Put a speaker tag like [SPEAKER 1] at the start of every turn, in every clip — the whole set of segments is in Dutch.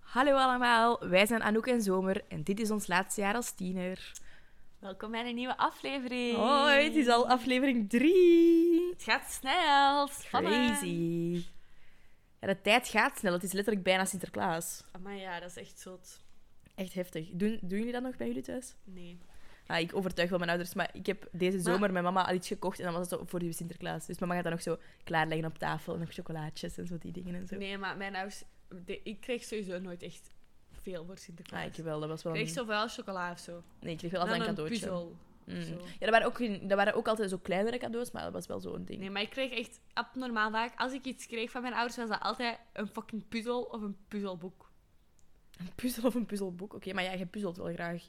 [SPEAKER 1] Hallo allemaal, wij zijn Anouk en Zomer en dit is ons laatste jaar als tiener.
[SPEAKER 2] Welkom bij een nieuwe aflevering.
[SPEAKER 1] Hoi, het is al aflevering 3.
[SPEAKER 2] Het gaat snel. Spannend.
[SPEAKER 1] Crazy. Ja, de tijd gaat snel, het is letterlijk bijna Sinterklaas.
[SPEAKER 2] Maar ja, dat is echt zot.
[SPEAKER 1] Echt heftig. Doen, doen jullie dat nog bij jullie thuis?
[SPEAKER 2] Nee.
[SPEAKER 1] Ah, ik overtuig wel mijn ouders, maar ik heb deze
[SPEAKER 2] Maar-
[SPEAKER 1] zomer mijn mama al iets gekocht en dan was het zo voor die Sinterklaas. Dus mama gaat dat nog zo klaarleggen op tafel en nog chocolaatjes en zo die dingen en zo.
[SPEAKER 2] Nee, maar mijn ouders... de- ik kreeg sowieso nooit echt veel voor Sinterklaas.
[SPEAKER 1] Ah, ik wel, dat was wel...
[SPEAKER 2] Ik kreeg
[SPEAKER 1] Een...
[SPEAKER 2] zoveel chocola of zo.
[SPEAKER 1] Nee, ik kreeg wel altijd
[SPEAKER 2] Dan
[SPEAKER 1] een
[SPEAKER 2] een
[SPEAKER 1] cadeautje.
[SPEAKER 2] puzzel.
[SPEAKER 1] Mm.
[SPEAKER 2] Zo.
[SPEAKER 1] Ja, dat waren, ook, geen- dat waren ook altijd zo kleinere cadeaus, maar dat was wel zo'n ding.
[SPEAKER 2] Nee, maar ik kreeg echt abnormaal vaak... Als ik iets kreeg van mijn ouders, was dat altijd een fucking puzzel of een puzzelboek.
[SPEAKER 1] Een puzzel of een puzzelboek? Oké, maar ja, je puzzelt wel graag.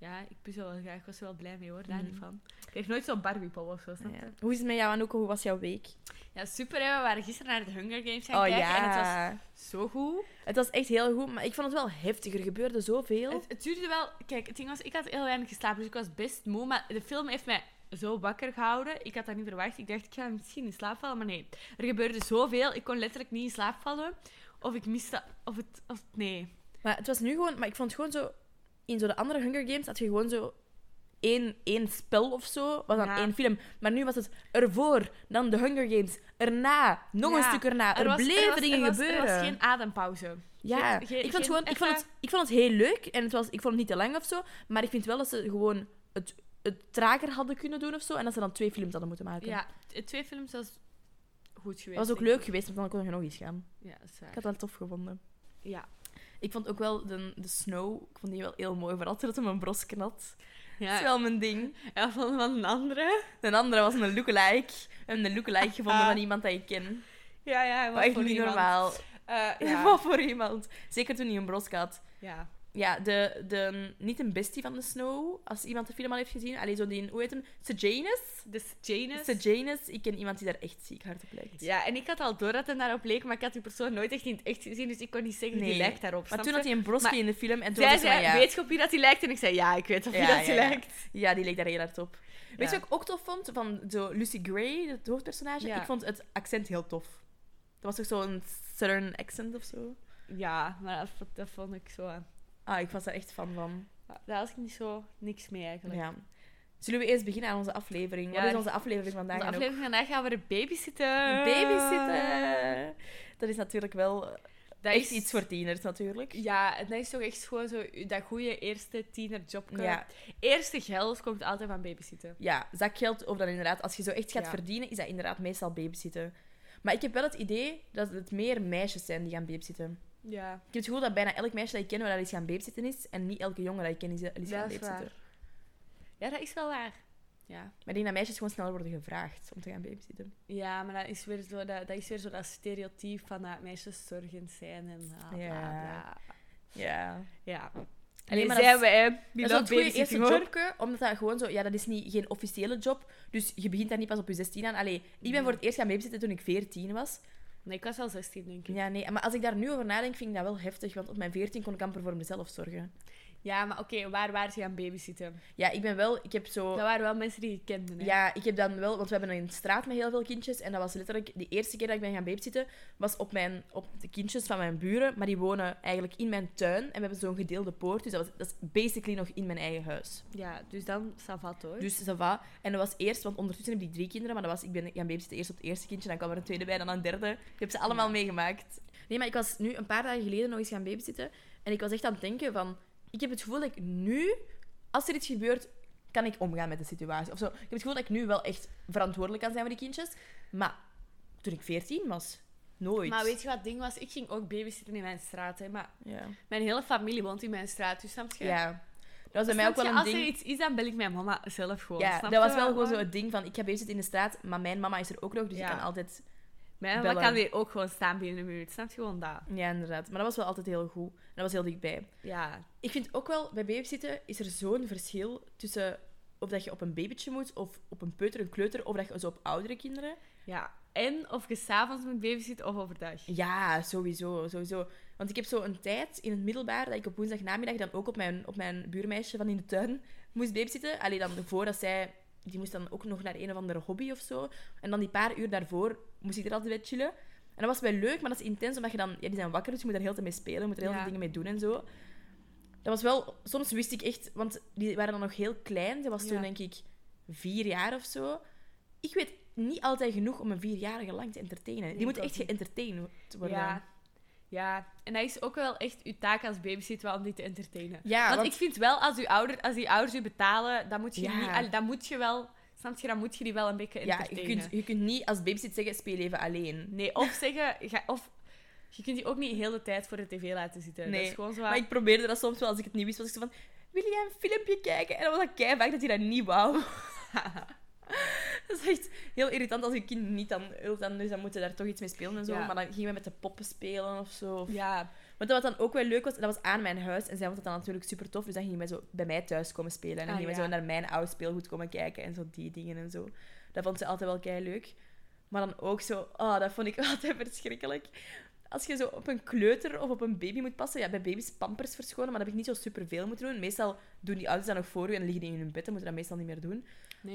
[SPEAKER 2] Ja, ik puzzel wel graag. Ik was er wel blij mee, hoor. Daar
[SPEAKER 1] Mhm.
[SPEAKER 2] niet van. Ik kreeg nooit zo'n Barbiepop of zo, snap je?
[SPEAKER 1] Ja. Hoe is het met jou, Anouk? Hoe was jouw week?
[SPEAKER 2] Ja, super, hè. We waren gisteren naar de Hunger Games
[SPEAKER 1] Oh,
[SPEAKER 2] gaan kijken. En het was zo goed.
[SPEAKER 1] Het was echt heel goed, maar ik vond het wel heftig. Er gebeurde zoveel.
[SPEAKER 2] Het, het duurde wel... Kijk, het ding was, ik had heel weinig geslapen, dus ik was best moe. Maar de film heeft mij zo wakker gehouden. Ik had dat niet verwacht. Ik dacht, ik ga misschien in slaap vallen. Maar nee, er gebeurde zoveel. Ik kon letterlijk niet in slaap vallen. Of ik miste... Of het... Of, nee.
[SPEAKER 1] Maar het was nu gewoon... Maar ik vond gewoon zo... In zo de andere Hunger Games had je gewoon zo... één, één spel of zo, was dan
[SPEAKER 2] Ja.
[SPEAKER 1] één film. Maar nu was het ervoor, dan de Hunger Games, erna, nog een
[SPEAKER 2] Ja.
[SPEAKER 1] stuk erna. Er,
[SPEAKER 2] was-
[SPEAKER 1] bleven
[SPEAKER 2] was-
[SPEAKER 1] dingen
[SPEAKER 2] er was,
[SPEAKER 1] gebeuren.
[SPEAKER 2] Er was geen adempauze.
[SPEAKER 1] Ja,
[SPEAKER 2] Ge- ge-
[SPEAKER 1] ik,
[SPEAKER 2] geen
[SPEAKER 1] vond gewoon, ik,
[SPEAKER 2] echte-
[SPEAKER 1] vond het, ik vond het heel leuk en het was, ik vond het niet te lang of zo. Maar ik vind wel dat ze gewoon het, het trager hadden kunnen doen of zo. En dat ze dan twee films hadden moeten maken.
[SPEAKER 2] Ja, t- twee films was goed
[SPEAKER 1] dat
[SPEAKER 2] geweest.
[SPEAKER 1] was ook
[SPEAKER 2] denk ik.
[SPEAKER 1] leuk geweest, want dan kon je nog eens gaan.
[SPEAKER 2] Ja, dat is waar.
[SPEAKER 1] Ik had dat tof gevonden.
[SPEAKER 2] Ja.
[SPEAKER 1] Ik vond ook wel de, de snow, ik vond die wel heel mooi. Vooral dat hem een bros knat. Dat is
[SPEAKER 2] ja.
[SPEAKER 1] wel mijn ding.
[SPEAKER 2] ja van, van een andere.
[SPEAKER 1] Een andere was een lookalike. We hebben een lookalike gevonden van iemand dat ik ken.
[SPEAKER 2] Ja, ja. hij was
[SPEAKER 1] Maar echt
[SPEAKER 2] voor
[SPEAKER 1] niet
[SPEAKER 2] iemand.
[SPEAKER 1] normaal.
[SPEAKER 2] Eh, ja.
[SPEAKER 1] Wat voor iemand. Zeker toen hij een bros had.
[SPEAKER 2] ja.
[SPEAKER 1] Ja, de, de, niet een bestie van de Snow, als iemand de film al heeft gezien. Allee, zo die, hoe heet hem? Sejanus?
[SPEAKER 2] Dus Janus.
[SPEAKER 1] Sejanus. Ik ken iemand die daar echt ziek hard op lijkt.
[SPEAKER 2] Ja, en ik had al door dat hij daarop leek, maar ik had die persoon nooit echt in het echt gezien, dus ik kon niet zeggen
[SPEAKER 1] Nee.
[SPEAKER 2] die lijkt daarop.
[SPEAKER 1] Maar
[SPEAKER 2] snap
[SPEAKER 1] toen
[SPEAKER 2] je?
[SPEAKER 1] had hij een broski
[SPEAKER 2] Maar
[SPEAKER 1] in de film en toen
[SPEAKER 2] Zij
[SPEAKER 1] was ik
[SPEAKER 2] zei,
[SPEAKER 1] van ja,
[SPEAKER 2] weet je op wie dat hij lijkt? En ik zei, ja, ik weet op wie
[SPEAKER 1] Ja,
[SPEAKER 2] dat hij
[SPEAKER 1] ja, ja.
[SPEAKER 2] lijkt.
[SPEAKER 1] ja, die leek daar heel hard op. Weet je
[SPEAKER 2] Ja.
[SPEAKER 1] wat ik ook tof vond? Van zo Lucy Gray, het hoofdpersonage.
[SPEAKER 2] Ja.
[SPEAKER 1] Ik vond het accent heel tof. Dat was toch zo'n southern accent of zo?
[SPEAKER 2] Ja, maar dat, vond- dat vond ik zo... eh,
[SPEAKER 1] Ah, ik was daar echt fan van.
[SPEAKER 2] Daar was ik niet zo niks mee eigenlijk.
[SPEAKER 1] Ja. Zullen we eerst beginnen aan onze aflevering?
[SPEAKER 2] Ja,
[SPEAKER 1] Wat is
[SPEAKER 2] die-
[SPEAKER 1] onze aflevering vandaag?
[SPEAKER 2] Onze
[SPEAKER 1] en ook?
[SPEAKER 2] aflevering vandaag gaan we er babysitten.
[SPEAKER 1] Babysitten! Dat is natuurlijk wel
[SPEAKER 2] Dat
[SPEAKER 1] echt iets voor tieners natuurlijk.
[SPEAKER 2] Ja, en dat is toch echt gewoon zo dat goede eerste tienerjobje.
[SPEAKER 1] Ja,
[SPEAKER 2] Eerste geld komt altijd van babysitten.
[SPEAKER 1] ja, zakgeld of dan inderdaad, als je zo echt gaat
[SPEAKER 2] Ja.
[SPEAKER 1] verdienen, is dat inderdaad meestal babysitten. Maar ik heb wel het idee dat het meer meisjes zijn die gaan babysitten.
[SPEAKER 2] Ja,
[SPEAKER 1] Ik heb het gevoel dat bijna elk meisje dat ik ken waar dat eens gaan babysitten is, en niet elke jongen dat ik ken is, is gaan
[SPEAKER 2] dat is
[SPEAKER 1] babysitten.
[SPEAKER 2] waar. Ja, dat is wel waar. Ja.
[SPEAKER 1] Maar ik denk dat meisjes gewoon sneller worden gevraagd om te gaan babysitten.
[SPEAKER 2] Ja, maar dat is weer zo dat, dat, is weer zo dat stereotype van dat meisjes zorgend zijn en bla, bla,
[SPEAKER 1] Ja.
[SPEAKER 2] bla.
[SPEAKER 1] Ja.
[SPEAKER 2] Ja.
[SPEAKER 1] Nee, maar
[SPEAKER 2] Alleen maar
[SPEAKER 1] dat
[SPEAKER 2] zijn
[SPEAKER 1] is-
[SPEAKER 2] wij, hè.
[SPEAKER 1] Die
[SPEAKER 2] We
[SPEAKER 1] dat is
[SPEAKER 2] love
[SPEAKER 1] wel een goede eerste
[SPEAKER 2] babysitting, hoor.
[SPEAKER 1] jobke, omdat dat gewoon zo... Ja, dat is niet, geen officiële job, dus je begint daar niet pas op je 16 aan. Allee, ik ben voor het eerst gaan babysitten toen ik 14 was.
[SPEAKER 2] Nee, ik was wel 16, denk ik. Ja,
[SPEAKER 1] Ja, nee, maar als ik daar nu over nadenk, vind ik dat wel heftig, want op mijn 14 kon ik amper voor mezelf zorgen.
[SPEAKER 2] maar oké, waar waren ze gaan babysitten?
[SPEAKER 1] Ja, ik ben wel... Ik heb zo...
[SPEAKER 2] Dat waren wel mensen die je kende, hè.
[SPEAKER 1] Oh. Ja, ik heb dan wel, want we hebben een straat met heel veel kindjes. En dat was letterlijk de eerste keer dat ik ben gaan babysitten, was op, mijn, op de kindjes van mijn buren. Maar die wonen eigenlijk in mijn tuin. En we hebben zo'n gedeelde poort. Dus dat, was, dat is basically nog in mijn eigen huis.
[SPEAKER 2] Ja, dus dan, ça va, hoor.
[SPEAKER 1] Dus ça va. En dat was eerst, want ondertussen heb ik drie kinderen. Maar dat was, ik ben gaan babysitten eerst op het eerste kindje. Dan kwam er een tweede bij, dan een derde. Ik heb ze allemaal
[SPEAKER 2] Ja.
[SPEAKER 1] meegemaakt. Nee, maar ik was nu een paar dagen geleden nog eens gaan babysitten. En ik was echt aan het denken van... Ik heb het gevoel dat ik nu, als er iets gebeurt, kan ik omgaan met de situatie. Of zo. Ik heb het gevoel dat ik nu wel echt verantwoordelijk kan zijn voor die kindjes. Maar toen ik veertien was, nooit.
[SPEAKER 2] Maar weet je wat het ding was? Ik ging ook babysitten in mijn straat, hè. Maar
[SPEAKER 1] Ja.
[SPEAKER 2] mijn hele familie woont in mijn straat, dus snap je? Dus
[SPEAKER 1] ja. Dat was bij
[SPEAKER 2] Snap
[SPEAKER 1] mij ook wel
[SPEAKER 2] je?
[SPEAKER 1] een
[SPEAKER 2] Als
[SPEAKER 1] ding.
[SPEAKER 2] er iets is, dan bel ik mijn mama zelf gewoon.
[SPEAKER 1] Ja,
[SPEAKER 2] snap
[SPEAKER 1] dat
[SPEAKER 2] je
[SPEAKER 1] was wel
[SPEAKER 2] wat-
[SPEAKER 1] gewoon zo het ding van... Ik ga babysitten in de straat, maar mijn mama is er ook nog. Dus
[SPEAKER 2] Ja.
[SPEAKER 1] ik kan altijd
[SPEAKER 2] Mijn mama
[SPEAKER 1] bellen.
[SPEAKER 2] kan hier ook gewoon staan binnen een minuut. Snap je gewoon dat?
[SPEAKER 1] Ja, inderdaad. Maar dat was wel altijd heel goed. En dat was heel dichtbij.
[SPEAKER 2] Ja.
[SPEAKER 1] Ik vind ook wel, bij babysitten is er zo'n verschil tussen of dat je op een babytje moet, of op een peuter, een kleuter, of dat je zo op oudere kinderen.
[SPEAKER 2] Ja. En of je s'avonds met babysit of overdag.
[SPEAKER 1] Ja, sowieso, sowieso. Want ik heb zo een tijd in het middelbaar dat ik op woensdagnamiddag dan ook op mijn, op mijn buurmeisje van in de tuin moest babysitten. Alleen dan voordat zij... Die moest dan ook nog naar een of andere hobby of zo. En dan die paar uur daarvoor moest ik er altijd bij chillen. En dat was wel leuk, maar dat is intens, omdat je dan... Ja, die zijn wakker, dus je moet daar heel veel mee spelen. Je moet er heel
[SPEAKER 2] Ja.
[SPEAKER 1] veel dingen mee doen en zo. Dat was wel... Soms wist ik echt... Want die waren dan nog heel klein. Ze was toen,
[SPEAKER 2] Ja.
[SPEAKER 1] denk ik, vier jaar of zo. Ik weet niet altijd genoeg om een vierjarige lang te entertainen. Die
[SPEAKER 2] ik
[SPEAKER 1] moet
[SPEAKER 2] ook
[SPEAKER 1] echt
[SPEAKER 2] niet.
[SPEAKER 1] geëntertained worden.
[SPEAKER 2] Ja. ja, en dat is ook wel echt uw taak als babysitter wel om die te entertainen.
[SPEAKER 1] Ja,
[SPEAKER 2] want,
[SPEAKER 1] want-
[SPEAKER 2] ik vind wel, als, uw ouder, als die ouders u betalen, dan moet je,
[SPEAKER 1] Ja.
[SPEAKER 2] niet, allee, dan moet je wel... Snap je, dan moet je die wel een beetje
[SPEAKER 1] Ja, je
[SPEAKER 2] entertainen.
[SPEAKER 1] kunt, je kunt niet als babysit zeggen, speel even alleen.
[SPEAKER 2] Nee, of zeggen... Ga, of, je kunt die ook niet heel de tijd voor de tv laten zitten.
[SPEAKER 1] Nee,
[SPEAKER 2] Dat is gewoon zo...
[SPEAKER 1] Maar
[SPEAKER 2] wat-
[SPEAKER 1] ik probeerde dat soms wel, als ik het niet wist, was ik zo van... Wil jij een filmpje kijken? En dan was dat keihard dat hij dat niet wou. dat is echt heel irritant als je kind niet dan wil. Dan, dus dan moeten daar toch iets mee spelen en zo.
[SPEAKER 2] Ja.
[SPEAKER 1] Maar dan gingen we met de poppen spelen of zo. Of...
[SPEAKER 2] Ja,
[SPEAKER 1] Want dat wat dan ook wel leuk was, dat was aan mijn huis. En zij vond dat dan natuurlijk super tof. Dus dan gingen wij zo bij mij thuis komen spelen. En dan
[SPEAKER 2] Ah,
[SPEAKER 1] gingen wij
[SPEAKER 2] ja.
[SPEAKER 1] zo naar mijn oud speelgoed komen kijken. En zo die dingen en zo. Dat vond ze altijd wel kei leuk. Maar dan ook zo, oh, dat vond ik altijd verschrikkelijk. Als je zo op een kleuter of op een baby moet passen. Ja, bij baby's pampers verschonen, maar dat heb ik niet zo super veel moeten doen. Meestal doen die ouders dat nog voor u en liggen die in hun bed en moeten dat meestal niet meer doen.
[SPEAKER 2] nee,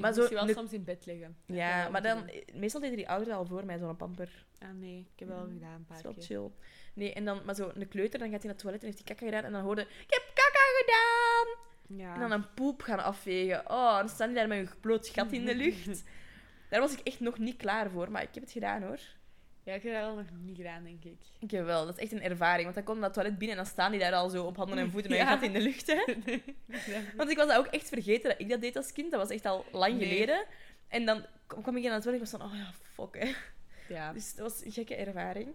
[SPEAKER 1] Maar
[SPEAKER 2] maar
[SPEAKER 1] zo
[SPEAKER 2] moest je wel
[SPEAKER 1] de-
[SPEAKER 2] soms in bed liggen. Dat heb ik
[SPEAKER 1] Ja,
[SPEAKER 2] wel
[SPEAKER 1] maar
[SPEAKER 2] moeten
[SPEAKER 1] dan,
[SPEAKER 2] doen.
[SPEAKER 1] meestal deden die ouders al voor mij zo'n pamper.
[SPEAKER 2] Ah nee, ik heb
[SPEAKER 1] Mm,
[SPEAKER 2] wel gedaan een paar
[SPEAKER 1] Dat
[SPEAKER 2] keer.
[SPEAKER 1] is wel chill. Nee, en dan, maar zo, een kleuter, dan gaat hij naar het toilet en heeft hij kaka gedaan. En dan hoorde ik heb kaka gedaan!
[SPEAKER 2] Ja.
[SPEAKER 1] En dan een poep gaan afvegen. Oh, dan staan die daar met een bloot gat in de lucht. Daar was ik echt nog niet klaar voor, maar ik heb het gedaan hoor.
[SPEAKER 2] ja, ik heb dat wel nog niet gedaan, denk ik.
[SPEAKER 1] Ik heb wel, dat is echt een ervaring. Want dan komt dat toilet binnen en dan staan die daar al zo op handen en voeten met een
[SPEAKER 2] Ja.
[SPEAKER 1] gat in de lucht. Hè. Want ik was dat ook echt vergeten dat ik dat deed als kind. Dat was echt al lang
[SPEAKER 2] Nee.
[SPEAKER 1] geleden. En dan k- kwam ik in aan het toilet en ik was van, oh ja, fuck hè.
[SPEAKER 2] ja.
[SPEAKER 1] Dus dat was een gekke ervaring.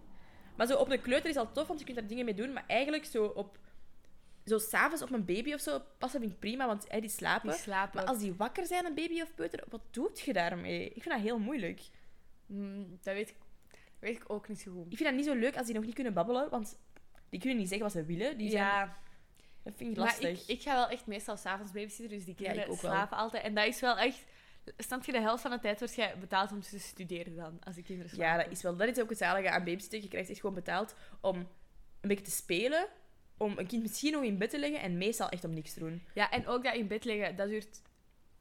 [SPEAKER 1] Maar zo op een kleuter is al tof, want je kunt daar dingen mee doen. Maar eigenlijk zo op... Zo s'avonds op een baby of zo passen vind ik prima, want hè, die slapen.
[SPEAKER 2] Die slapen.
[SPEAKER 1] Maar als die wakker zijn, een baby of peuter, wat doet je daarmee? Ik vind dat heel moeilijk.
[SPEAKER 2] Mm, dat weet ik, weet ik ook niet zo goed.
[SPEAKER 1] Ik vind dat niet zo leuk als die nog niet kunnen babbelen, want die kunnen niet zeggen wat ze willen. Die zijn,
[SPEAKER 2] ja,
[SPEAKER 1] Dat vind ik
[SPEAKER 2] maar
[SPEAKER 1] lastig.
[SPEAKER 2] ik, ik ga wel echt meestal s'avonds babysitter, dus die kinderen
[SPEAKER 1] ik ook wel.
[SPEAKER 2] slapen altijd. En dat is wel echt... Snap je, de helft van de tijd word jij betaald om te studeren dan, als die kinderen slapen.
[SPEAKER 1] Ja, dat is wel. Dat is ook het zalige aan babysitten. Je krijgt echt gewoon betaald om een beetje te spelen, om een kind misschien nog in bed te leggen en meestal echt om niks te doen.
[SPEAKER 2] Ja, en ook dat in bed liggen, dat duurt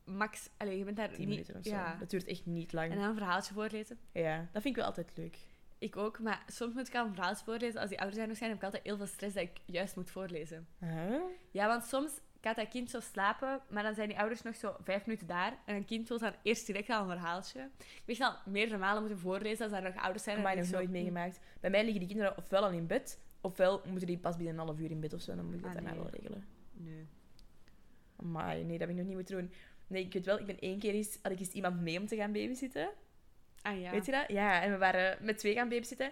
[SPEAKER 2] max... Allee, je bent daar
[SPEAKER 1] 10
[SPEAKER 2] niet...
[SPEAKER 1] minuten of zo.
[SPEAKER 2] ja.
[SPEAKER 1] Dat duurt echt niet
[SPEAKER 2] En
[SPEAKER 1] lang.
[SPEAKER 2] dan een verhaaltje voorlezen.
[SPEAKER 1] Ja, dat vind ik wel altijd leuk.
[SPEAKER 2] Ik ook, maar soms moet ik al een verhaal voorlezen. Als die ouders er nog zijn, heb ik altijd heel veel stress dat ik juist moet voorlezen.
[SPEAKER 1] Huh?
[SPEAKER 2] Ja, want soms gaat dat kind zo slapen, maar dan zijn die ouders nog zo vijf minuten daar. En een kind wil dan eerst direct al een verhaaltje. Ik weet al meerdere malen moeten voorlezen als daar nog ouders zijn. en
[SPEAKER 1] Maar
[SPEAKER 2] dan
[SPEAKER 1] nog
[SPEAKER 2] denk
[SPEAKER 1] nooit
[SPEAKER 2] ik zo,
[SPEAKER 1] meegemaakt. Bij mij liggen die kinderen ofwel al in bed, ofwel moeten die pas binnen een half uur in bed of zo. Dan moet ik dat
[SPEAKER 2] Ah,
[SPEAKER 1] daarna
[SPEAKER 2] nee.
[SPEAKER 1] wel regelen.
[SPEAKER 2] Nee.
[SPEAKER 1] Amai, nee, dat heb ik nog niet moeten doen. Nee, ik weet wel, ik ben één keer eens, had ik eens iemand mee om te gaan babysitten.
[SPEAKER 2] Ah ja.
[SPEAKER 1] Weet je dat? Ja, en we waren met twee gaan babysitten.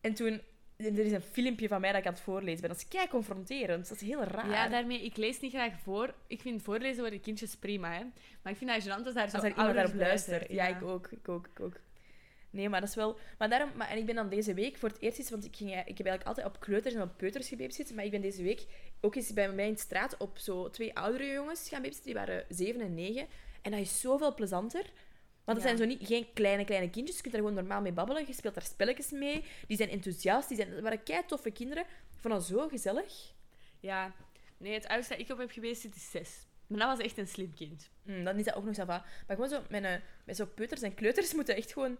[SPEAKER 1] En toen... Er is een filmpje van mij dat ik aan het voorlezen ben. Dat is kei confronterend. Dat is heel raar.
[SPEAKER 2] Ja, daarmee, ik lees niet graag voor. Ik vind voorlezen voor de kindjes prima, hè. Maar ik vind dat gênant als daar zo
[SPEAKER 1] Als er iemand
[SPEAKER 2] ouders
[SPEAKER 1] daarop luistert.
[SPEAKER 2] luisteren.
[SPEAKER 1] Ja, ik ook, ik ook, ik ook. Nee, maar dat is wel... Maar daarom... Maar, en ik ben dan deze week voor het eerst eens... Want ik, ging, ik heb eigenlijk altijd op kleuters en op peuters gebabysitten. Maar ik ben deze week ook eens bij mij in de straat op zo twee oudere jongens gaan babysitten. Die waren zeven en negen. En dat is zoveel plezanter. Want dat
[SPEAKER 2] Ja.
[SPEAKER 1] zijn zo niet, geen kleine, kleine kindjes. Je kunt daar gewoon normaal mee babbelen. Je speelt daar spelletjes mee. Die zijn enthousiast. Die zijn, dat waren kei toffe kinderen. Ik vond dat zo gezellig.
[SPEAKER 2] Ja. Nee, het oudste dat ik op heb geweest, dit is zes. Maar dat was echt een slim kind.
[SPEAKER 1] Mm, dan is dat ook nog sava. Maar gewoon zo met, een, met zo peuters en kleuters moeten echt gewoon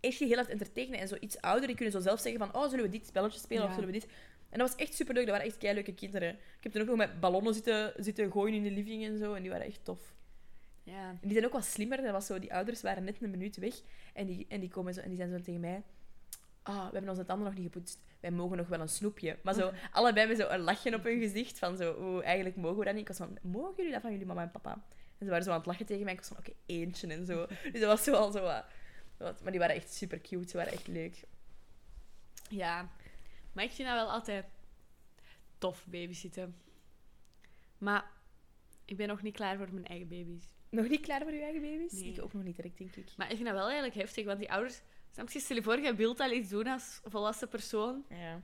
[SPEAKER 1] echt je heel hard entertainen. En zo iets ouder, die kunnen zo zelf zeggen van, oh, zullen we dit spelletje spelen of
[SPEAKER 2] Ja.
[SPEAKER 1] zullen we dit... En dat was echt superleuk, dat waren echt leuke kinderen. Ik heb toen ook nog met ballonnen zitten, zitten gooien in de living en zo, en die waren echt tof.
[SPEAKER 2] Ja.
[SPEAKER 1] En die zijn ook wat slimmer, dat was zo, die ouders waren net een minuut weg en die, en die, komen zo, en die zijn zo tegen mij... Ah, we hebben onze tanden nog niet gepoetst. Wij mogen nog wel een snoepje. Maar zo, allebei met zo een lachje op hun gezicht. Van zo, oeh, eigenlijk mogen we dat niet. Ik was van, mogen jullie dat van jullie mama en papa? En ze waren zo aan het lachen tegen mij. Ik was van, oké, eentje en zo. Dus dat was zo al zo wat, wat- Maar die waren echt super cute. Ze waren echt leuk.
[SPEAKER 2] Ja, maar ik vind dat wel altijd tof babysitten. Maar ik ben nog niet klaar voor mijn eigen baby's.
[SPEAKER 1] Nog niet klaar voor je eigen baby's?
[SPEAKER 2] Nee.
[SPEAKER 1] Ik ook nog niet direct, denk ik.
[SPEAKER 2] Maar ik vind dat wel eigenlijk heftig, want die ouders. Snap je, stel je voor, jij wilt al iets doen als volwassen persoon.
[SPEAKER 1] Ja.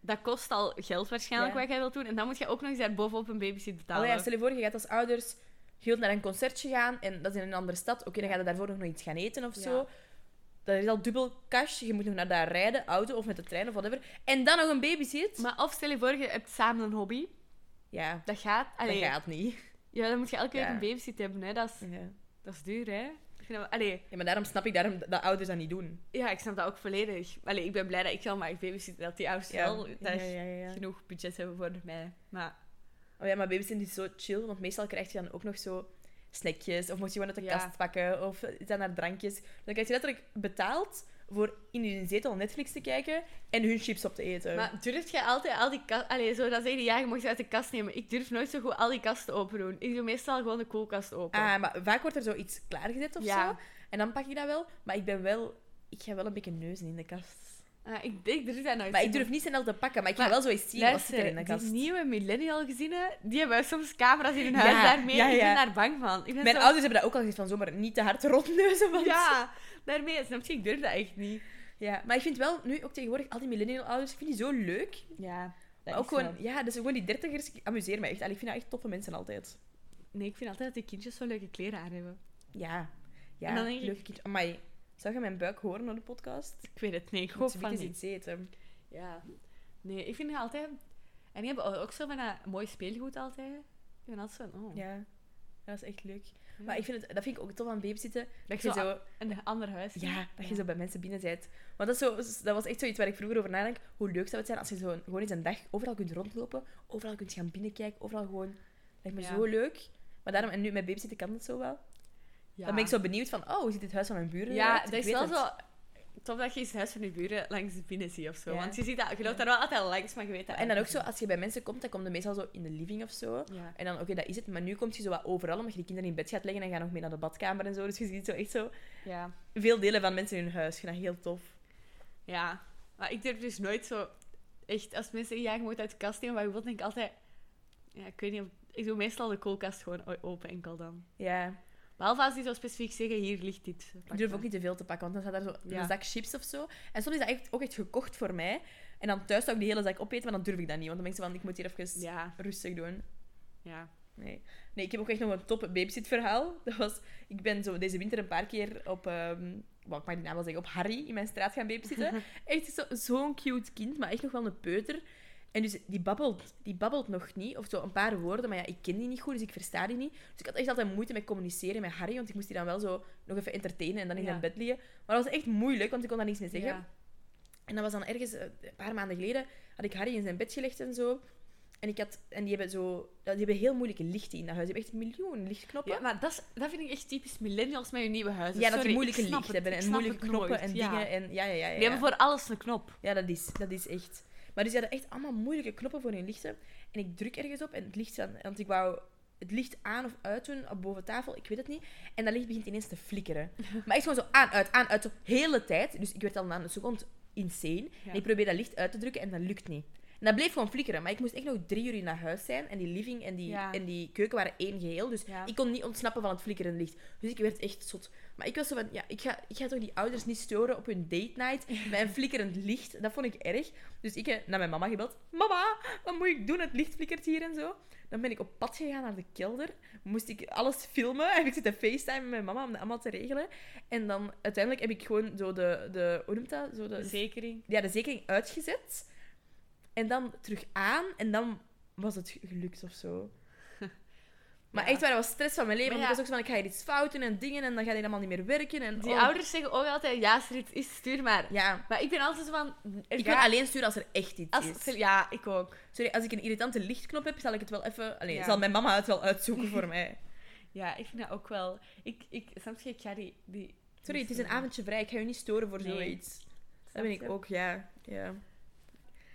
[SPEAKER 2] Dat kost al geld waarschijnlijk
[SPEAKER 1] Ja.
[SPEAKER 2] wat jij wilt doen. En dan moet je ook nog eens daar bovenop een babysit betalen.
[SPEAKER 1] Allee, ja, stel je voor, je gaat als ouders... Je wilt naar een concertje gaan en dat is in een andere stad. Oké, dan ga je daarvoor nog iets gaan eten of
[SPEAKER 2] Ja.
[SPEAKER 1] zo. Dat is al dubbel cash. Je moet nog naar daar rijden, auto of met de trein of whatever. En dan nog een babysit.
[SPEAKER 2] Maar of stel je voor, je hebt samen een hobby.
[SPEAKER 1] Ja,
[SPEAKER 2] Dat gaat. Allee,
[SPEAKER 1] dat gaat niet.
[SPEAKER 2] Ja, dan moet je elke week
[SPEAKER 1] Ja.
[SPEAKER 2] een babysit hebben. Hè. Dat, is,
[SPEAKER 1] Ja.
[SPEAKER 2] dat is duur, hè? Ik vind dat, allee,
[SPEAKER 1] Ja, maar daarom snap ik daarom dat ouders dat niet doen.
[SPEAKER 2] ja, ik snap dat ook volledig. Allee, ik ben blij dat ik zelf maar babysit, dat die ouders wel
[SPEAKER 1] ja,
[SPEAKER 2] daar
[SPEAKER 1] ja, ja, ja.
[SPEAKER 2] genoeg budget hebben voor mij. Maar
[SPEAKER 1] Oh ja, maar babysitten is zo chill, want meestal krijg je dan ook nog zo snackjes. Of moet je gewoon uit de
[SPEAKER 2] Ja.
[SPEAKER 1] kast pakken, of iets aan haar drankjes. Dan krijg je letterlijk betaald voor in hun zetel Netflix te kijken en hun chips op te eten.
[SPEAKER 2] Maar durf jij altijd al die kasten... Allee, zo, dat ze ja, je mocht ze uit de kast nemen. Ik durf nooit zo goed al die kasten open doen. Ik doe meestal gewoon de koelkast open.
[SPEAKER 1] Ah, maar vaak wordt er zoiets klaargezet of
[SPEAKER 2] Ja.
[SPEAKER 1] zo. En dan pak ik dat wel. Maar ik ben wel... Ik ga wel een beetje neuzen in de kast.
[SPEAKER 2] Ah, ik, ik durf dat nooit.
[SPEAKER 1] Maar
[SPEAKER 2] zo
[SPEAKER 1] ik durf
[SPEAKER 2] goed.
[SPEAKER 1] niet snel te pakken, maar ik ga
[SPEAKER 2] Maar
[SPEAKER 1] wel zo eens zien wat zit er in de
[SPEAKER 2] Luister, die
[SPEAKER 1] kast.
[SPEAKER 2] nieuwe millennial gezinnen, die hebben soms camera's in hun
[SPEAKER 1] Ja,
[SPEAKER 2] huis daarmee.
[SPEAKER 1] ja,
[SPEAKER 2] Ik
[SPEAKER 1] ja.
[SPEAKER 2] ben daar bang van. Ik ben
[SPEAKER 1] Mijn
[SPEAKER 2] zo-
[SPEAKER 1] ouders hebben dat ook al gezegd van zomaar niet te hard rondneuzen. Want...
[SPEAKER 2] Ja, daarmee. Snap je? Ik durf dat echt niet.
[SPEAKER 1] Ja, Maar ik vind wel nu ook tegenwoordig al die millennial ouders, ik vind die zo leuk.
[SPEAKER 2] Ja,
[SPEAKER 1] Maar ook gewoon, ja, dus gewoon die dertigers, ik amuseer me echt. Allee, ik vind dat echt toffe mensen altijd.
[SPEAKER 2] Nee, ik vind altijd dat die kindjes zo leuke kleren aan hebben.
[SPEAKER 1] Ja. Ja,
[SPEAKER 2] En dan denk ik-
[SPEAKER 1] leuke kind. Amai, zou je mijn buik horen op de podcast?
[SPEAKER 2] Ik weet het niet. Ik
[SPEAKER 1] Goed
[SPEAKER 2] hoop
[SPEAKER 1] van
[SPEAKER 2] van niet.
[SPEAKER 1] iets eten.
[SPEAKER 2] Ja. Nee, ik vind het altijd... En die hebben ook zo van dat mooi speelgoed altijd. Ik ben altijd zo van, oh.
[SPEAKER 1] Ja. Dat is echt leuk.
[SPEAKER 2] Ja.
[SPEAKER 1] Maar ik vind het, dat vind ik ook tof aan babysitten.
[SPEAKER 2] Dat
[SPEAKER 1] Dat
[SPEAKER 2] je
[SPEAKER 1] je
[SPEAKER 2] zo
[SPEAKER 1] zo
[SPEAKER 2] een ander huis.
[SPEAKER 1] Ja, dat je zo bij mensen binnen bent. Want dat, is zo, dat was echt zoiets waar ik vroeger over nadenk. Hoe leuk zou het zijn als je zo gewoon eens een dag overal kunt rondlopen, overal kunt gaan binnenkijken, overal gewoon... Lijkt me
[SPEAKER 2] Ja.
[SPEAKER 1] zo leuk. Maar daarom, en nu met babysitten kan dat zo wel.
[SPEAKER 2] Ja.
[SPEAKER 1] Dan ben ik zo benieuwd van, oh, hoe ziet het huis van mijn buren
[SPEAKER 2] Ja,
[SPEAKER 1] eruit?
[SPEAKER 2] dat
[SPEAKER 1] Ik
[SPEAKER 2] is
[SPEAKER 1] weet
[SPEAKER 2] wel
[SPEAKER 1] het.
[SPEAKER 2] zo... Top dat je eens het huis van je buren langs binnen ziet of zo.
[SPEAKER 1] Ja.
[SPEAKER 2] Want je, ziet dat, je loopt
[SPEAKER 1] Ja.
[SPEAKER 2] daar wel altijd langs, maar je weet dat...
[SPEAKER 1] En dan ook zo, als je bij mensen komt, dan komt je meestal zo in de living of zo.
[SPEAKER 2] Ja.
[SPEAKER 1] En dan, oké, dat is het. Maar nu kom je zo wat overal, omdat je de kinderen in bed gaat leggen en gaan nog mee naar de badkamer en zo. Dus je ziet zo echt zo
[SPEAKER 2] ja.
[SPEAKER 1] veel delen van mensen in hun huis. Ik vind dat heel tof.
[SPEAKER 2] Ja, maar ik durf dus nooit zo... Echt, als mensen zeggen, ja, je moet uit de kast nemen, maar bijvoorbeeld denk ik altijd... Ja, ik weet niet of... Ik doe meestal de koelkast gewoon o- open enkel dan.
[SPEAKER 1] Ja.
[SPEAKER 2] Behalve als die zo specifiek zeggen, hier ligt dit.
[SPEAKER 1] Ik durf ook niet te veel te pakken, want dan staat daar zo
[SPEAKER 2] Ja.
[SPEAKER 1] een zak chips of zo. En soms is dat echt, ook echt gekocht voor mij. En dan thuis zou ik die hele zak opeten, maar dan durf ik dat niet. Want dan denk ik zo van, ik moet hier even
[SPEAKER 2] Ja,
[SPEAKER 1] rustig doen.
[SPEAKER 2] ja.
[SPEAKER 1] Nee. nee, ik heb ook echt nog een top babysitverhaal. Dat was, ik ben zo deze winter een paar keer op, ehm wel, ik mag die naam wel zeggen, op Harry in mijn straat gaan babysitten. echt zo- zo'n cute kind, maar echt nog wel een peuter. En dus die babbelt, die babbelt nog niet, of zo een paar woorden, maar ja, ik ken die niet goed, dus ik versta die niet. Dus ik had echt altijd moeite met communiceren met Harry, want ik moest die dan wel zo nog even entertainen en dan in
[SPEAKER 2] Ja.
[SPEAKER 1] zijn bed liggen. Maar dat was echt moeilijk, want ik kon daar niks mee zeggen.
[SPEAKER 2] Ja.
[SPEAKER 1] En dat was dan ergens, eh, een paar maanden geleden, had ik Harry in zijn bed gelegd en zo. En, ik had, en die, hebben zo, die hebben heel moeilijke lichten in dat huis. Die hebben echt een miljoen lichtknoppen.
[SPEAKER 2] Ja, maar dat, is, dat vind ik echt typisch millennials met hun nieuwe huizen.
[SPEAKER 1] Ja, dat
[SPEAKER 2] Sorry,
[SPEAKER 1] die moeilijke
[SPEAKER 2] ik snap
[SPEAKER 1] licht
[SPEAKER 2] het,
[SPEAKER 1] hebben
[SPEAKER 2] ik
[SPEAKER 1] en
[SPEAKER 2] snap
[SPEAKER 1] moeilijke
[SPEAKER 2] het
[SPEAKER 1] knoppen
[SPEAKER 2] nooit,
[SPEAKER 1] en
[SPEAKER 2] ja.
[SPEAKER 1] dingen. En, ja, ja, ja, ja,
[SPEAKER 2] Die hebben
[SPEAKER 1] ja.
[SPEAKER 2] voor alles een knop. Dus
[SPEAKER 1] Ja, dat is, dat is echt. Maar dus die hadden echt allemaal moeilijke knoppen voor hun lichten. En ik druk ergens op en het licht aan, want ik wou het licht aan of uit doen op boven tafel, ik weet het niet. En dat licht begint ineens te flikkeren. Maar echt gewoon zo aan, uit, aan, uit, de hele tijd. Dus ik werd al na een seconde insane.
[SPEAKER 2] Ja.
[SPEAKER 1] En ik probeer dat licht uit te drukken en dat lukt niet. En dat bleef gewoon flikkeren. Maar ik moest echt nog drie uur naar huis zijn. En die living en die,
[SPEAKER 2] Ja.
[SPEAKER 1] en die keuken waren één geheel. Dus
[SPEAKER 2] Ja.
[SPEAKER 1] ik kon niet ontsnappen van het flikkerende licht. Dus ik werd echt zot. Maar ik was zo van, ja, ik ga, ik ga toch die ouders niet storen op hun date night met een flikkerend licht. Dat vond ik erg. Dus ik heb naar mijn mama gebeld. Mama, wat moet ik doen? Het licht flikkert hier en zo. Dan ben ik op pad gegaan naar de kelder. Moest ik alles filmen. Heb ik zitten facetimen met mijn mama om dat allemaal te regelen. En dan uiteindelijk heb ik gewoon zo de, de hoe noemt dat? Zo de,
[SPEAKER 2] Verzekering.
[SPEAKER 1] ja, de zekering uitgezet. En dan terug aan. En dan was het gelukt of zo. Maar
[SPEAKER 2] Ja.
[SPEAKER 1] echt waar, dat was stress van mijn leven.
[SPEAKER 2] Maar
[SPEAKER 1] want
[SPEAKER 2] ja.
[SPEAKER 1] ik was ook zo van, ik ga hier iets fout doen en dingen. En dan gaat dit allemaal niet meer werken. En,
[SPEAKER 2] Die
[SPEAKER 1] oh.
[SPEAKER 2] ouders zeggen ook altijd, ja, als er iets is, stuur maar.
[SPEAKER 1] Ja.
[SPEAKER 2] Maar ik ben altijd zo van... er
[SPEAKER 1] Ik
[SPEAKER 2] gaat-
[SPEAKER 1] wil alleen sturen als er echt iets
[SPEAKER 2] als,
[SPEAKER 1] is.
[SPEAKER 2] Ja, ik ook.
[SPEAKER 1] Sorry, als ik een irritante lichtknop heb, zal ik het wel even... Allee,
[SPEAKER 2] Ja.
[SPEAKER 1] zal mijn mama het wel uitzoeken voor mij.
[SPEAKER 2] Ja, ik vind dat ook wel. Ik, ik, soms ga ik ja, die, die.
[SPEAKER 1] Sorry, het is een avondje vrij. Ik ga je niet storen voor
[SPEAKER 2] Nee.
[SPEAKER 1] zoiets. Dat
[SPEAKER 2] ben
[SPEAKER 1] ben ik ook, ja. Ja,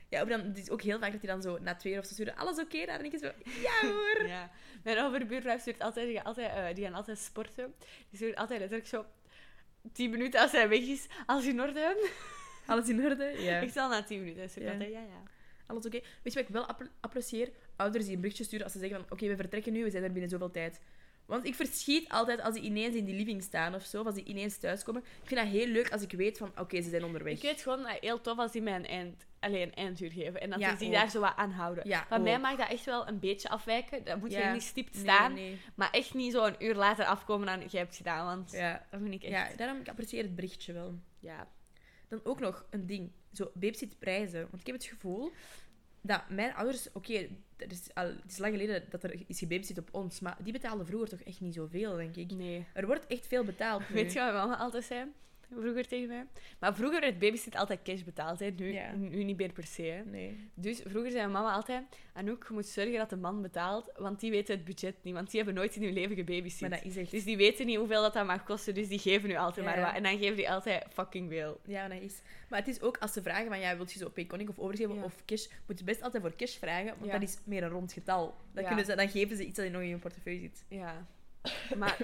[SPEAKER 1] ja ook dan, het is ook heel vaak dat die dan zo na twee uur of zo sturen. Alles oké? Daar en ik zo... Ja hoor!
[SPEAKER 2] Ja. Mijn overbuurvrouw stuurt altijd, die gaan altijd, eh, die gaan altijd sporten. Die stuurt altijd letterlijk zo 10 minuten als hij weg is. Als je in orde hebt.
[SPEAKER 1] Alles in orde? Ja.
[SPEAKER 2] Ik zal na 10 minuten. Dus ik
[SPEAKER 1] Ja.
[SPEAKER 2] altijd, ja, ja.
[SPEAKER 1] Alles oké. Weet je wat ik wel appre- apprecieer? Ouders die een berichtje sturen als ze zeggen van... Oké, we vertrekken nu, we zijn er binnen zoveel tijd. Want ik verschiet altijd als die ineens in die living staan of zo. Of als die ineens thuiskomen. Ik vind dat heel leuk als ik weet van... Oké, ze zijn onderweg.
[SPEAKER 2] Ik weet gewoon dat heel tof als die mij een, eind, alleen een einduur geven. En dat
[SPEAKER 1] Ja,
[SPEAKER 2] ze zich
[SPEAKER 1] ook.
[SPEAKER 2] daar zo wat aan houden.
[SPEAKER 1] Ja,
[SPEAKER 2] Van mij
[SPEAKER 1] ook.
[SPEAKER 2] mag dat echt wel een beetje afwijken. Dan moet je
[SPEAKER 1] Ja.
[SPEAKER 2] niet stipt
[SPEAKER 1] Nee,
[SPEAKER 2] staan.
[SPEAKER 1] nee.
[SPEAKER 2] Maar echt niet zo een uur later afkomen dan jij hebt gedaan. Want
[SPEAKER 1] Ja.
[SPEAKER 2] dat vind ik echt...
[SPEAKER 1] ja, daarom ik apprecieer het berichtje wel.
[SPEAKER 2] ja.
[SPEAKER 1] Dan ook nog een ding. Zo, babysit prijzen. Want ik heb het gevoel dat mijn ouders... Oké, er is al- het is lang geleden dat er is gebabysit op ons, maar die betaalden vroeger toch echt niet zoveel, denk ik.
[SPEAKER 2] Nee.
[SPEAKER 1] Er wordt echt veel betaald nu.
[SPEAKER 2] Weet je wat mijn mama altijd zei? Vroeger tegen mij. Maar vroeger werd babysit altijd cash betaald, hè. Nu,
[SPEAKER 1] Ja.
[SPEAKER 2] nu niet meer per se. Hè.
[SPEAKER 1] Nee.
[SPEAKER 2] Dus vroeger zei mijn mama altijd... Anouk, je moet zorgen dat de man betaalt, want die weten het budget niet. Want die hebben nooit in hun leven gebabysit.
[SPEAKER 1] Maar dat is echt...
[SPEAKER 2] Dus die weten niet hoeveel dat, dat mag kosten, dus die geven nu altijd
[SPEAKER 1] Ja.
[SPEAKER 2] maar wat. En dan geven die altijd fucking veel.
[SPEAKER 1] Ja, dat is. Maar het is ook als ze vragen van ja, wilt je zo Payconic of overgeven
[SPEAKER 2] Ja.
[SPEAKER 1] of cash, moet je best altijd voor cash vragen, want
[SPEAKER 2] Ja.
[SPEAKER 1] dat is meer een rond getal. Dan,
[SPEAKER 2] Ja.
[SPEAKER 1] kunnen ze, dan geven ze iets dat je nog in je portefeuille zit.
[SPEAKER 2] Ja. Maar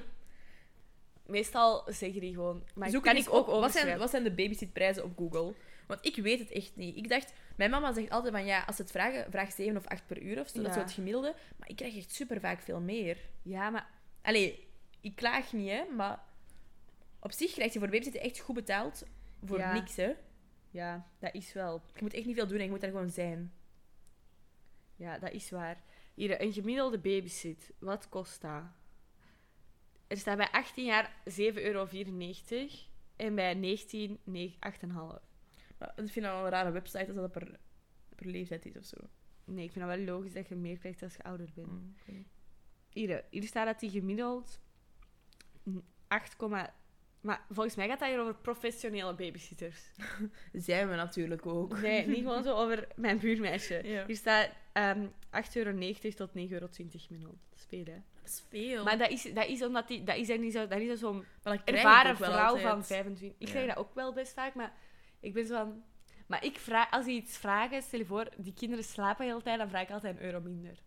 [SPEAKER 2] meestal zeggen die gewoon... Maar
[SPEAKER 1] Zoek
[SPEAKER 2] kan
[SPEAKER 1] Dus het
[SPEAKER 2] ik
[SPEAKER 1] eens op.
[SPEAKER 2] ook
[SPEAKER 1] wat zijn,
[SPEAKER 2] overschrijven.
[SPEAKER 1] wat zijn de babysitprijzen op Google? Want ik weet het echt niet. Ik dacht, mijn mama zegt altijd van ja, als ze het vragen, vraag 7 of 8 per uur of zo. Dat is
[SPEAKER 2] Ja.
[SPEAKER 1] zo het gemiddelde. Maar ik krijg echt super vaak veel meer.
[SPEAKER 2] Ja, maar
[SPEAKER 1] Allee, ik klaag niet, hè, maar op zich krijg je voor babysitten echt goed betaald voor
[SPEAKER 2] Ja.
[SPEAKER 1] niks, hè.
[SPEAKER 2] ja, dat is wel.
[SPEAKER 1] Je moet echt niet veel doen en je moet daar gewoon zijn.
[SPEAKER 2] Ja, dat is waar. Hier, een gemiddelde babysit. Wat kost dat? Er staat bij 18 jaar 7,94 euro. En bij 19, nee, 8,5.
[SPEAKER 1] Maar ik vind dat wel een rare website als dat per, per leeftijd is of zo.
[SPEAKER 2] Nee, ik vind dat wel logisch dat je meer krijgt als je ouder bent.
[SPEAKER 1] Mm, oké.
[SPEAKER 2] Hier, hier staat dat die gemiddeld 8, maar volgens mij gaat dat hier over professionele babysitters.
[SPEAKER 1] Zijn we natuurlijk ook.
[SPEAKER 2] Nee, niet gewoon zo over mijn buurmeisje.
[SPEAKER 1] Ja.
[SPEAKER 2] Hier staat ehm 8,90 tot 9,20 euro minimum. Dat is veel, hè?
[SPEAKER 1] Dat is veel.
[SPEAKER 2] Maar dat is, dat is omdat die, dat is dan niet zo- dat is dan zo'n
[SPEAKER 1] Maar dat krijg ik
[SPEAKER 2] ervaren
[SPEAKER 1] ook wel
[SPEAKER 2] vrouw
[SPEAKER 1] altijd.
[SPEAKER 2] van 25. Ik
[SPEAKER 1] Ja.
[SPEAKER 2] krijg dat ook wel best vaak, maar ik ben zo van... Maar ik vraag, als die iets vragen, stel je voor, die kinderen slapen de hele tijd, dan vraag ik altijd een euro minder.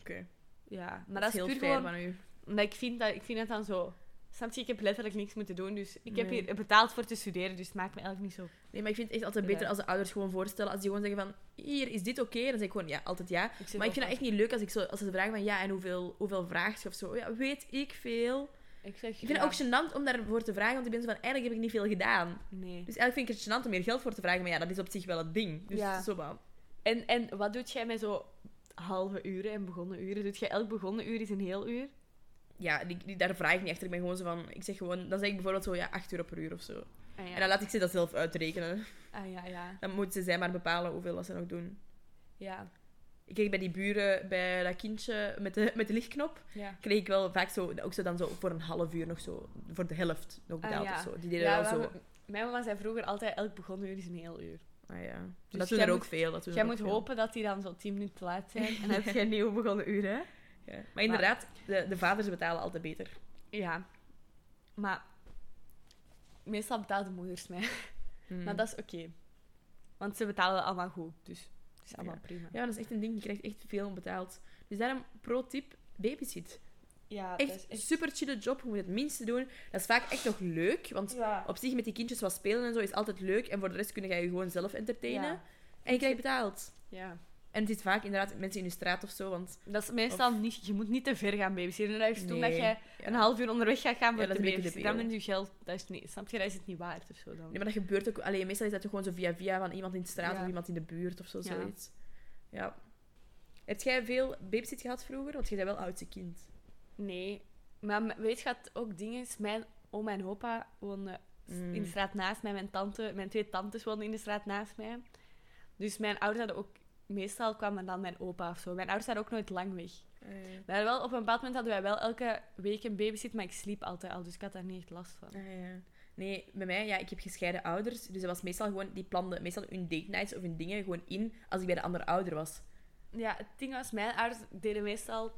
[SPEAKER 1] Oké.
[SPEAKER 2] Ja, maar dat, is,
[SPEAKER 1] heel
[SPEAKER 2] puur
[SPEAKER 1] fair
[SPEAKER 2] gewoon...
[SPEAKER 1] van u.
[SPEAKER 2] Omdat ik vind, dat, ik vind het dan zo... Snap je, ik heb letterlijk niks moeten doen, dus ik heb
[SPEAKER 1] Nee.
[SPEAKER 2] hier betaald voor te studeren, dus het maakt me eigenlijk niet zo...
[SPEAKER 1] Nee, maar ik vind het echt altijd beter
[SPEAKER 2] Ja.
[SPEAKER 1] als de ouders gewoon voorstellen. Als die gewoon zeggen van, hier, is dit oké? Dan zeg ik gewoon, ja, altijd ja.
[SPEAKER 2] Ik zeg
[SPEAKER 1] Maar ik
[SPEAKER 2] wel
[SPEAKER 1] vind het echt niet leuk als, ik zo, als ze vragen van, ja, en hoeveel, hoeveel vraagt je of zo. Ja, weet ik veel.
[SPEAKER 2] van- Ik, zeg,
[SPEAKER 1] Ik vind
[SPEAKER 2] ja,
[SPEAKER 1] het ook gênant om daarvoor te vragen, want ik ben zo van, eigenlijk heb ik niet veel gedaan.
[SPEAKER 2] Nee.
[SPEAKER 1] Dus eigenlijk vind ik het gênant om meer geld voor te vragen, maar ja, dat is op zich wel het ding. Dus
[SPEAKER 2] Ja.
[SPEAKER 1] zo wat.
[SPEAKER 2] En, en wat doet jij met zo halve uren en begonnen uren? Doet jij elk begonnen uur is een heel uur?
[SPEAKER 1] Ja, die, die- daar vraag ik niet achter. Ik ben gewoon zo van, ik zeg gewoon, dan zeg ik bijvoorbeeld zo, ja, 8 euro per uur of zo.
[SPEAKER 2] Ah ja,
[SPEAKER 1] En dan laat ik ze dat zelf uitrekenen.
[SPEAKER 2] ah, ja, ja.
[SPEAKER 1] Dan moeten zij maar bepalen hoeveel dat ze nog doen.
[SPEAKER 2] Ja,
[SPEAKER 1] Ik kreeg bij die buren, bij dat kindje met de, met de lichtknop,
[SPEAKER 2] ja.
[SPEAKER 1] kreeg ik wel vaak zo, ook zo dan zo voor een half uur nog zo, voor de helft nog
[SPEAKER 2] Ah,
[SPEAKER 1] betaald
[SPEAKER 2] ja.
[SPEAKER 1] of zo. Die deden
[SPEAKER 2] Ja,
[SPEAKER 1] wel
[SPEAKER 2] maar
[SPEAKER 1] zo.
[SPEAKER 2] Mijn mama zei vroeger altijd, elk begonnen uur is een heel uur.
[SPEAKER 1] Ah, ja.
[SPEAKER 2] Dus
[SPEAKER 1] dat doen
[SPEAKER 2] jij
[SPEAKER 1] er ook
[SPEAKER 2] moet-
[SPEAKER 1] veel. Dat doen
[SPEAKER 2] Jij
[SPEAKER 1] er
[SPEAKER 2] moet
[SPEAKER 1] ook veel.
[SPEAKER 2] hopen dat die dan zo tien minuten te laat zijn. En dan heb je een nieuw begonnen uur, hè?
[SPEAKER 1] Ja. Maar inderdaad, de, de vaders betalen altijd beter.
[SPEAKER 2] Ja. Maar meestal betalen de moeders mij.
[SPEAKER 1] Hmm.
[SPEAKER 2] Maar dat is oké. Want ze betalen allemaal goed. Dus het is allemaal
[SPEAKER 1] Ja.
[SPEAKER 2] prima.
[SPEAKER 1] Ja, dat is echt een ding. Je krijgt echt veel betaald. Dus daarom, pro-tip, babysit.
[SPEAKER 2] Ja,
[SPEAKER 1] Echt een super chille job. Je moet het minste doen. Dat is vaak echt nog leuk, want
[SPEAKER 2] Ja.
[SPEAKER 1] op zich met die kindjes wat spelen en zo is altijd leuk. En voor de rest kun je je gewoon zelf entertainen.
[SPEAKER 2] Ja.
[SPEAKER 1] En je krijgt betaald.
[SPEAKER 2] ja.
[SPEAKER 1] En het is vaak inderdaad mensen in je straat of zo, want
[SPEAKER 2] Dat is meestal niet... Je moet niet te ver gaan babysitten. Dat is toen dat
[SPEAKER 1] Nee.
[SPEAKER 2] jij
[SPEAKER 1] Ja.
[SPEAKER 2] een half uur onderweg gaat gaan voor
[SPEAKER 1] Ja, dat
[SPEAKER 2] te
[SPEAKER 1] is een beetje
[SPEAKER 2] babysitten. Dan
[SPEAKER 1] debiel.
[SPEAKER 2] bent je geld... Dat is niet... Snap je? Dat is het niet waard of zo dan.
[SPEAKER 1] Nee, maar dat gebeurt ook. Allee, meestal is dat toch gewoon zo via via van iemand in de straat
[SPEAKER 2] Ja.
[SPEAKER 1] of iemand in de buurt of zo.
[SPEAKER 2] Ja.
[SPEAKER 1] Zoiets. Ja. Heb jij veel babysit gehad vroeger? Want jij bent wel oudste kind.
[SPEAKER 2] Nee, maar m- weet je wat ook ding is? Mijn oma en opa woonden s-
[SPEAKER 1] Mm.
[SPEAKER 2] in de straat naast mij. Mijn, tante, mijn twee tantes woonden in de straat naast mij. Dus mijn ouders hadden ook... Meestal kwamen dan mijn opa of zo. Mijn ouders waren ook nooit lang weg.
[SPEAKER 1] Ah,
[SPEAKER 2] Maar wel, op een bepaald moment hadden wij wel elke week een babysit, maar ik sliep altijd al, dus ik had daar niet echt last van.
[SPEAKER 1] Ah, ja. Nee, bij mij, ja, ik heb gescheiden ouders. Dus dat was meestal gewoon, die planden meestal hun date nights of hun dingen gewoon in als ik bij de andere ouder was.
[SPEAKER 2] Ja, het ding was, mijn ouders deden meestal,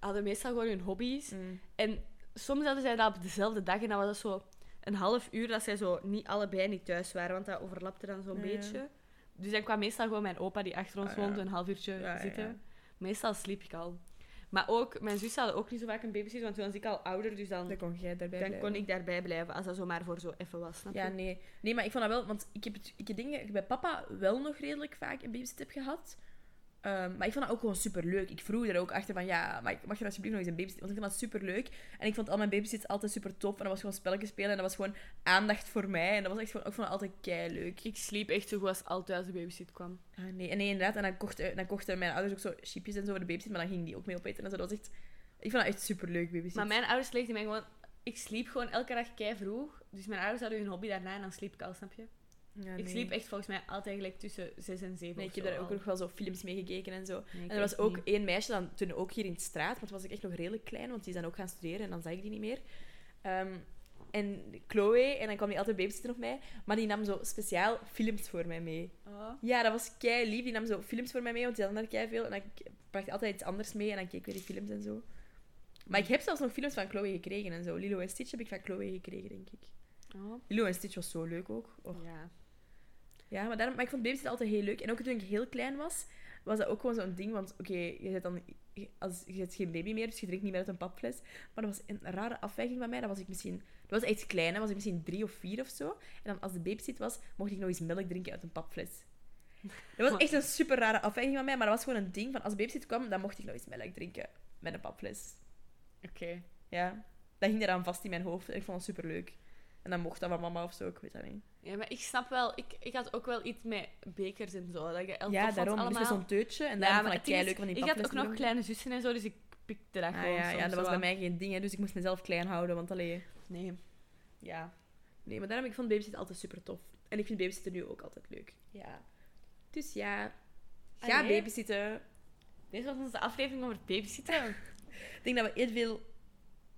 [SPEAKER 2] hadden meestal gewoon hun hobby's. En soms hadden zij dat op dezelfde dag en dan was dat zo een half uur dat zij zo niet allebei niet thuis waren, want dat overlapte dan zo'n
[SPEAKER 1] Ja, ja.
[SPEAKER 2] beetje. Dus dan kwam meestal gewoon mijn opa die achter ons
[SPEAKER 1] Ah, ja.
[SPEAKER 2] woonde een half uurtje
[SPEAKER 1] Ja, ja,
[SPEAKER 2] zitten.
[SPEAKER 1] ja.
[SPEAKER 2] Meestal sliep ik al. Maar ook, mijn zus had ook niet zo vaak een babysit, want toen was ik al ouder, dus dan,
[SPEAKER 1] Dan kon jij daarbij
[SPEAKER 2] dan
[SPEAKER 1] blijven.
[SPEAKER 2] kon ik daarbij blijven als dat zomaar voor zo even was. Snap je?
[SPEAKER 1] Ja, nee. Nee, maar ik vond dat wel... Want ik heb, het, ik heb dingen bij papa wel nog redelijk vaak een babysit heb gehad. Ehm, maar ik vond dat ook gewoon superleuk. Ik vroeg er ook achter van, ja, maar ik- mag je alsjeblieft nog eens een babysit? Want ik vond dat superleuk. En ik vond al mijn babysits altijd super top. En dat was gewoon spelletjes spelen. En dat was gewoon aandacht voor mij. En dat was echt gewoon... Ik vond dat altijd leuk.
[SPEAKER 2] Ik sliep echt zo goed als altijd als de babysit kwam.
[SPEAKER 1] Ah, nee. En nee, inderdaad. En dan kochten, dan kochten mijn ouders ook zo chipjes en zo voor de babysit. Maar dan gingen die ook mee opeten. En zo. Dat was echt... Ik vond dat echt superleuk, babysit.
[SPEAKER 2] Maar mijn ouders legden
[SPEAKER 1] Ah,
[SPEAKER 2] mij gewoon... Ik sliep gewoon elke dag kei vroeg. Dus mijn ouders hadden hun hobby daarna en dan sliep ik al, snap je? Ik sliep echt volgens mij altijd gelijk tussen 6 en 7.
[SPEAKER 1] Nee, ik heb daar ook nog wel zo films mee gekeken en zo.
[SPEAKER 2] en
[SPEAKER 1] En er was ook één meisje dan toen ook hier in de straat, want toen was ik echt nog redelijk klein, want die is dan ook gaan studeren en dan zag ik die niet meer. Ehm, en Chloe, en dan kwam die altijd babysitter op mij, maar die nam zo speciaal films voor mij mee. Ja, dat was kei lief. Die nam zo films voor mij mee, want die had daar kei veel. En dan k- bracht altijd iets anders mee en dan keek ik weer die films en zo. Maar ik heb zelfs nog films van Chloe gekregen en zo. Lilo en Stitch heb ik van Chloe gekregen, denk ik. Lilo en Stitch was zo leuk ook. Och.
[SPEAKER 2] Oh. Ja.
[SPEAKER 1] Ja, maar, daarom, maar ik vond babysit altijd heel leuk. En ook toen ik heel klein was, was dat ook gewoon zo'n ding. Want oké, je bent dan als, je bent geen baby meer, dus je drinkt niet meer uit een papfles. Maar dat was een rare afwijking van mij. Dat was ik misschien... Dat was echt klein, hè. was ik misschien drie of vier of zo. En dan als de babysit was, mocht ik nog eens melk drinken uit een papfles. Dat was echt een super rare afwijking van mij, maar dat was gewoon een ding. Van als de babysit kwam, dan mocht ik nog eens melk drinken met een papfles.
[SPEAKER 2] Oké.
[SPEAKER 1] Ja. Dat ging eraan vast in mijn hoofd en ik vond dat super leuk. En dan mocht dat van mama of zo, ik weet dat niet.
[SPEAKER 2] Ja, maar ik snap wel, ik, ik had ook wel iets met bekers en zo. Dat ik heel tof
[SPEAKER 1] ja,
[SPEAKER 2] vond
[SPEAKER 1] daarom.
[SPEAKER 2] Allemaal...
[SPEAKER 1] Dus met zo'n teutje. En
[SPEAKER 2] Ja,
[SPEAKER 1] daarom
[SPEAKER 2] maar
[SPEAKER 1] vond ik
[SPEAKER 2] het ding
[SPEAKER 1] kei
[SPEAKER 2] is,
[SPEAKER 1] leuk van die
[SPEAKER 2] Ik had ook
[SPEAKER 1] papflessen
[SPEAKER 2] nog kleine zussen en zo, dus ik pikte dat
[SPEAKER 1] Ah,
[SPEAKER 2] gewoon
[SPEAKER 1] ja,
[SPEAKER 2] soms
[SPEAKER 1] ja, dat was
[SPEAKER 2] wel.
[SPEAKER 1] bij mij geen ding, hè, dus ik moest mezelf klein houden. Want alleen.
[SPEAKER 2] Nee.
[SPEAKER 1] Ja. Nee, maar daarom, ik vond babysitten altijd super tof. En ik vind babysitten nu ook altijd leuk.
[SPEAKER 2] Ja.
[SPEAKER 1] Dus ja, ga
[SPEAKER 2] Allee.
[SPEAKER 1] babysitten.
[SPEAKER 2] Deze was onze aflevering over babysitten.
[SPEAKER 1] Ik denk dat we eerst veel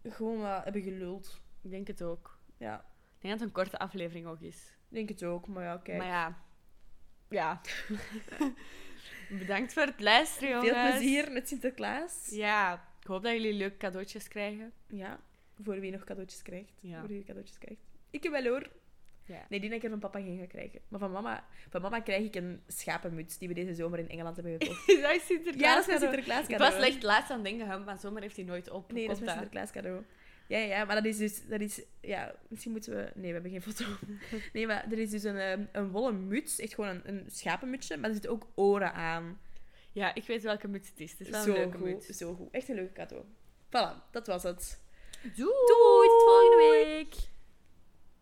[SPEAKER 1] gewoon wat hebben geluld.
[SPEAKER 2] ik denk het ook.
[SPEAKER 1] Ja,
[SPEAKER 2] Ik denk dat het een korte aflevering ook is.
[SPEAKER 1] ik denk het ook. Maar ja, kijk.
[SPEAKER 2] Maar ja. Ja. Bedankt voor het luisteren, jongens.
[SPEAKER 1] veel plezier met Sinterklaas. Ja.
[SPEAKER 2] Ja. Ik hoop dat jullie leuke cadeautjes krijgen.
[SPEAKER 1] Voor wie nog cadeautjes krijgt.
[SPEAKER 2] Ja.
[SPEAKER 1] Voor wie cadeautjes krijgt. Ik heb wel hoor.
[SPEAKER 2] Ja.
[SPEAKER 1] Nee, die denk ik er van papa geen ga krijgen. Maar van mama, van mama krijg ik een schapenmuts die we deze zomer in Engeland hebben gekocht.
[SPEAKER 2] Is dat
[SPEAKER 1] Ja, dat is
[SPEAKER 2] Sinterklaas?
[SPEAKER 1] mijn
[SPEAKER 2] cadeau?
[SPEAKER 1] Sinterklaas
[SPEAKER 2] Ik
[SPEAKER 1] cadeau.
[SPEAKER 2] was echt laatst aan het denken, hè, maar zomaar heeft hij nooit op.
[SPEAKER 1] Nee, dat is
[SPEAKER 2] Op
[SPEAKER 1] mijn Sinterklaas cadeau. Ja, ja, ja, maar dat is dus... Dat is, ja, misschien moeten we... Nee, we hebben geen foto. Nee, maar er is dus een, ehm, een wollen muts. Echt gewoon een, een schapenmutsje. Maar er zitten ook oren aan.
[SPEAKER 2] Ja, ik weet welke muts het is. Het is wel
[SPEAKER 1] zo
[SPEAKER 2] een leuke
[SPEAKER 1] goed,
[SPEAKER 2] muts.
[SPEAKER 1] Zo goed. Echt een leuke cadeau. Voilà, dat was het.
[SPEAKER 2] Doei!
[SPEAKER 1] Doei, tot volgende week!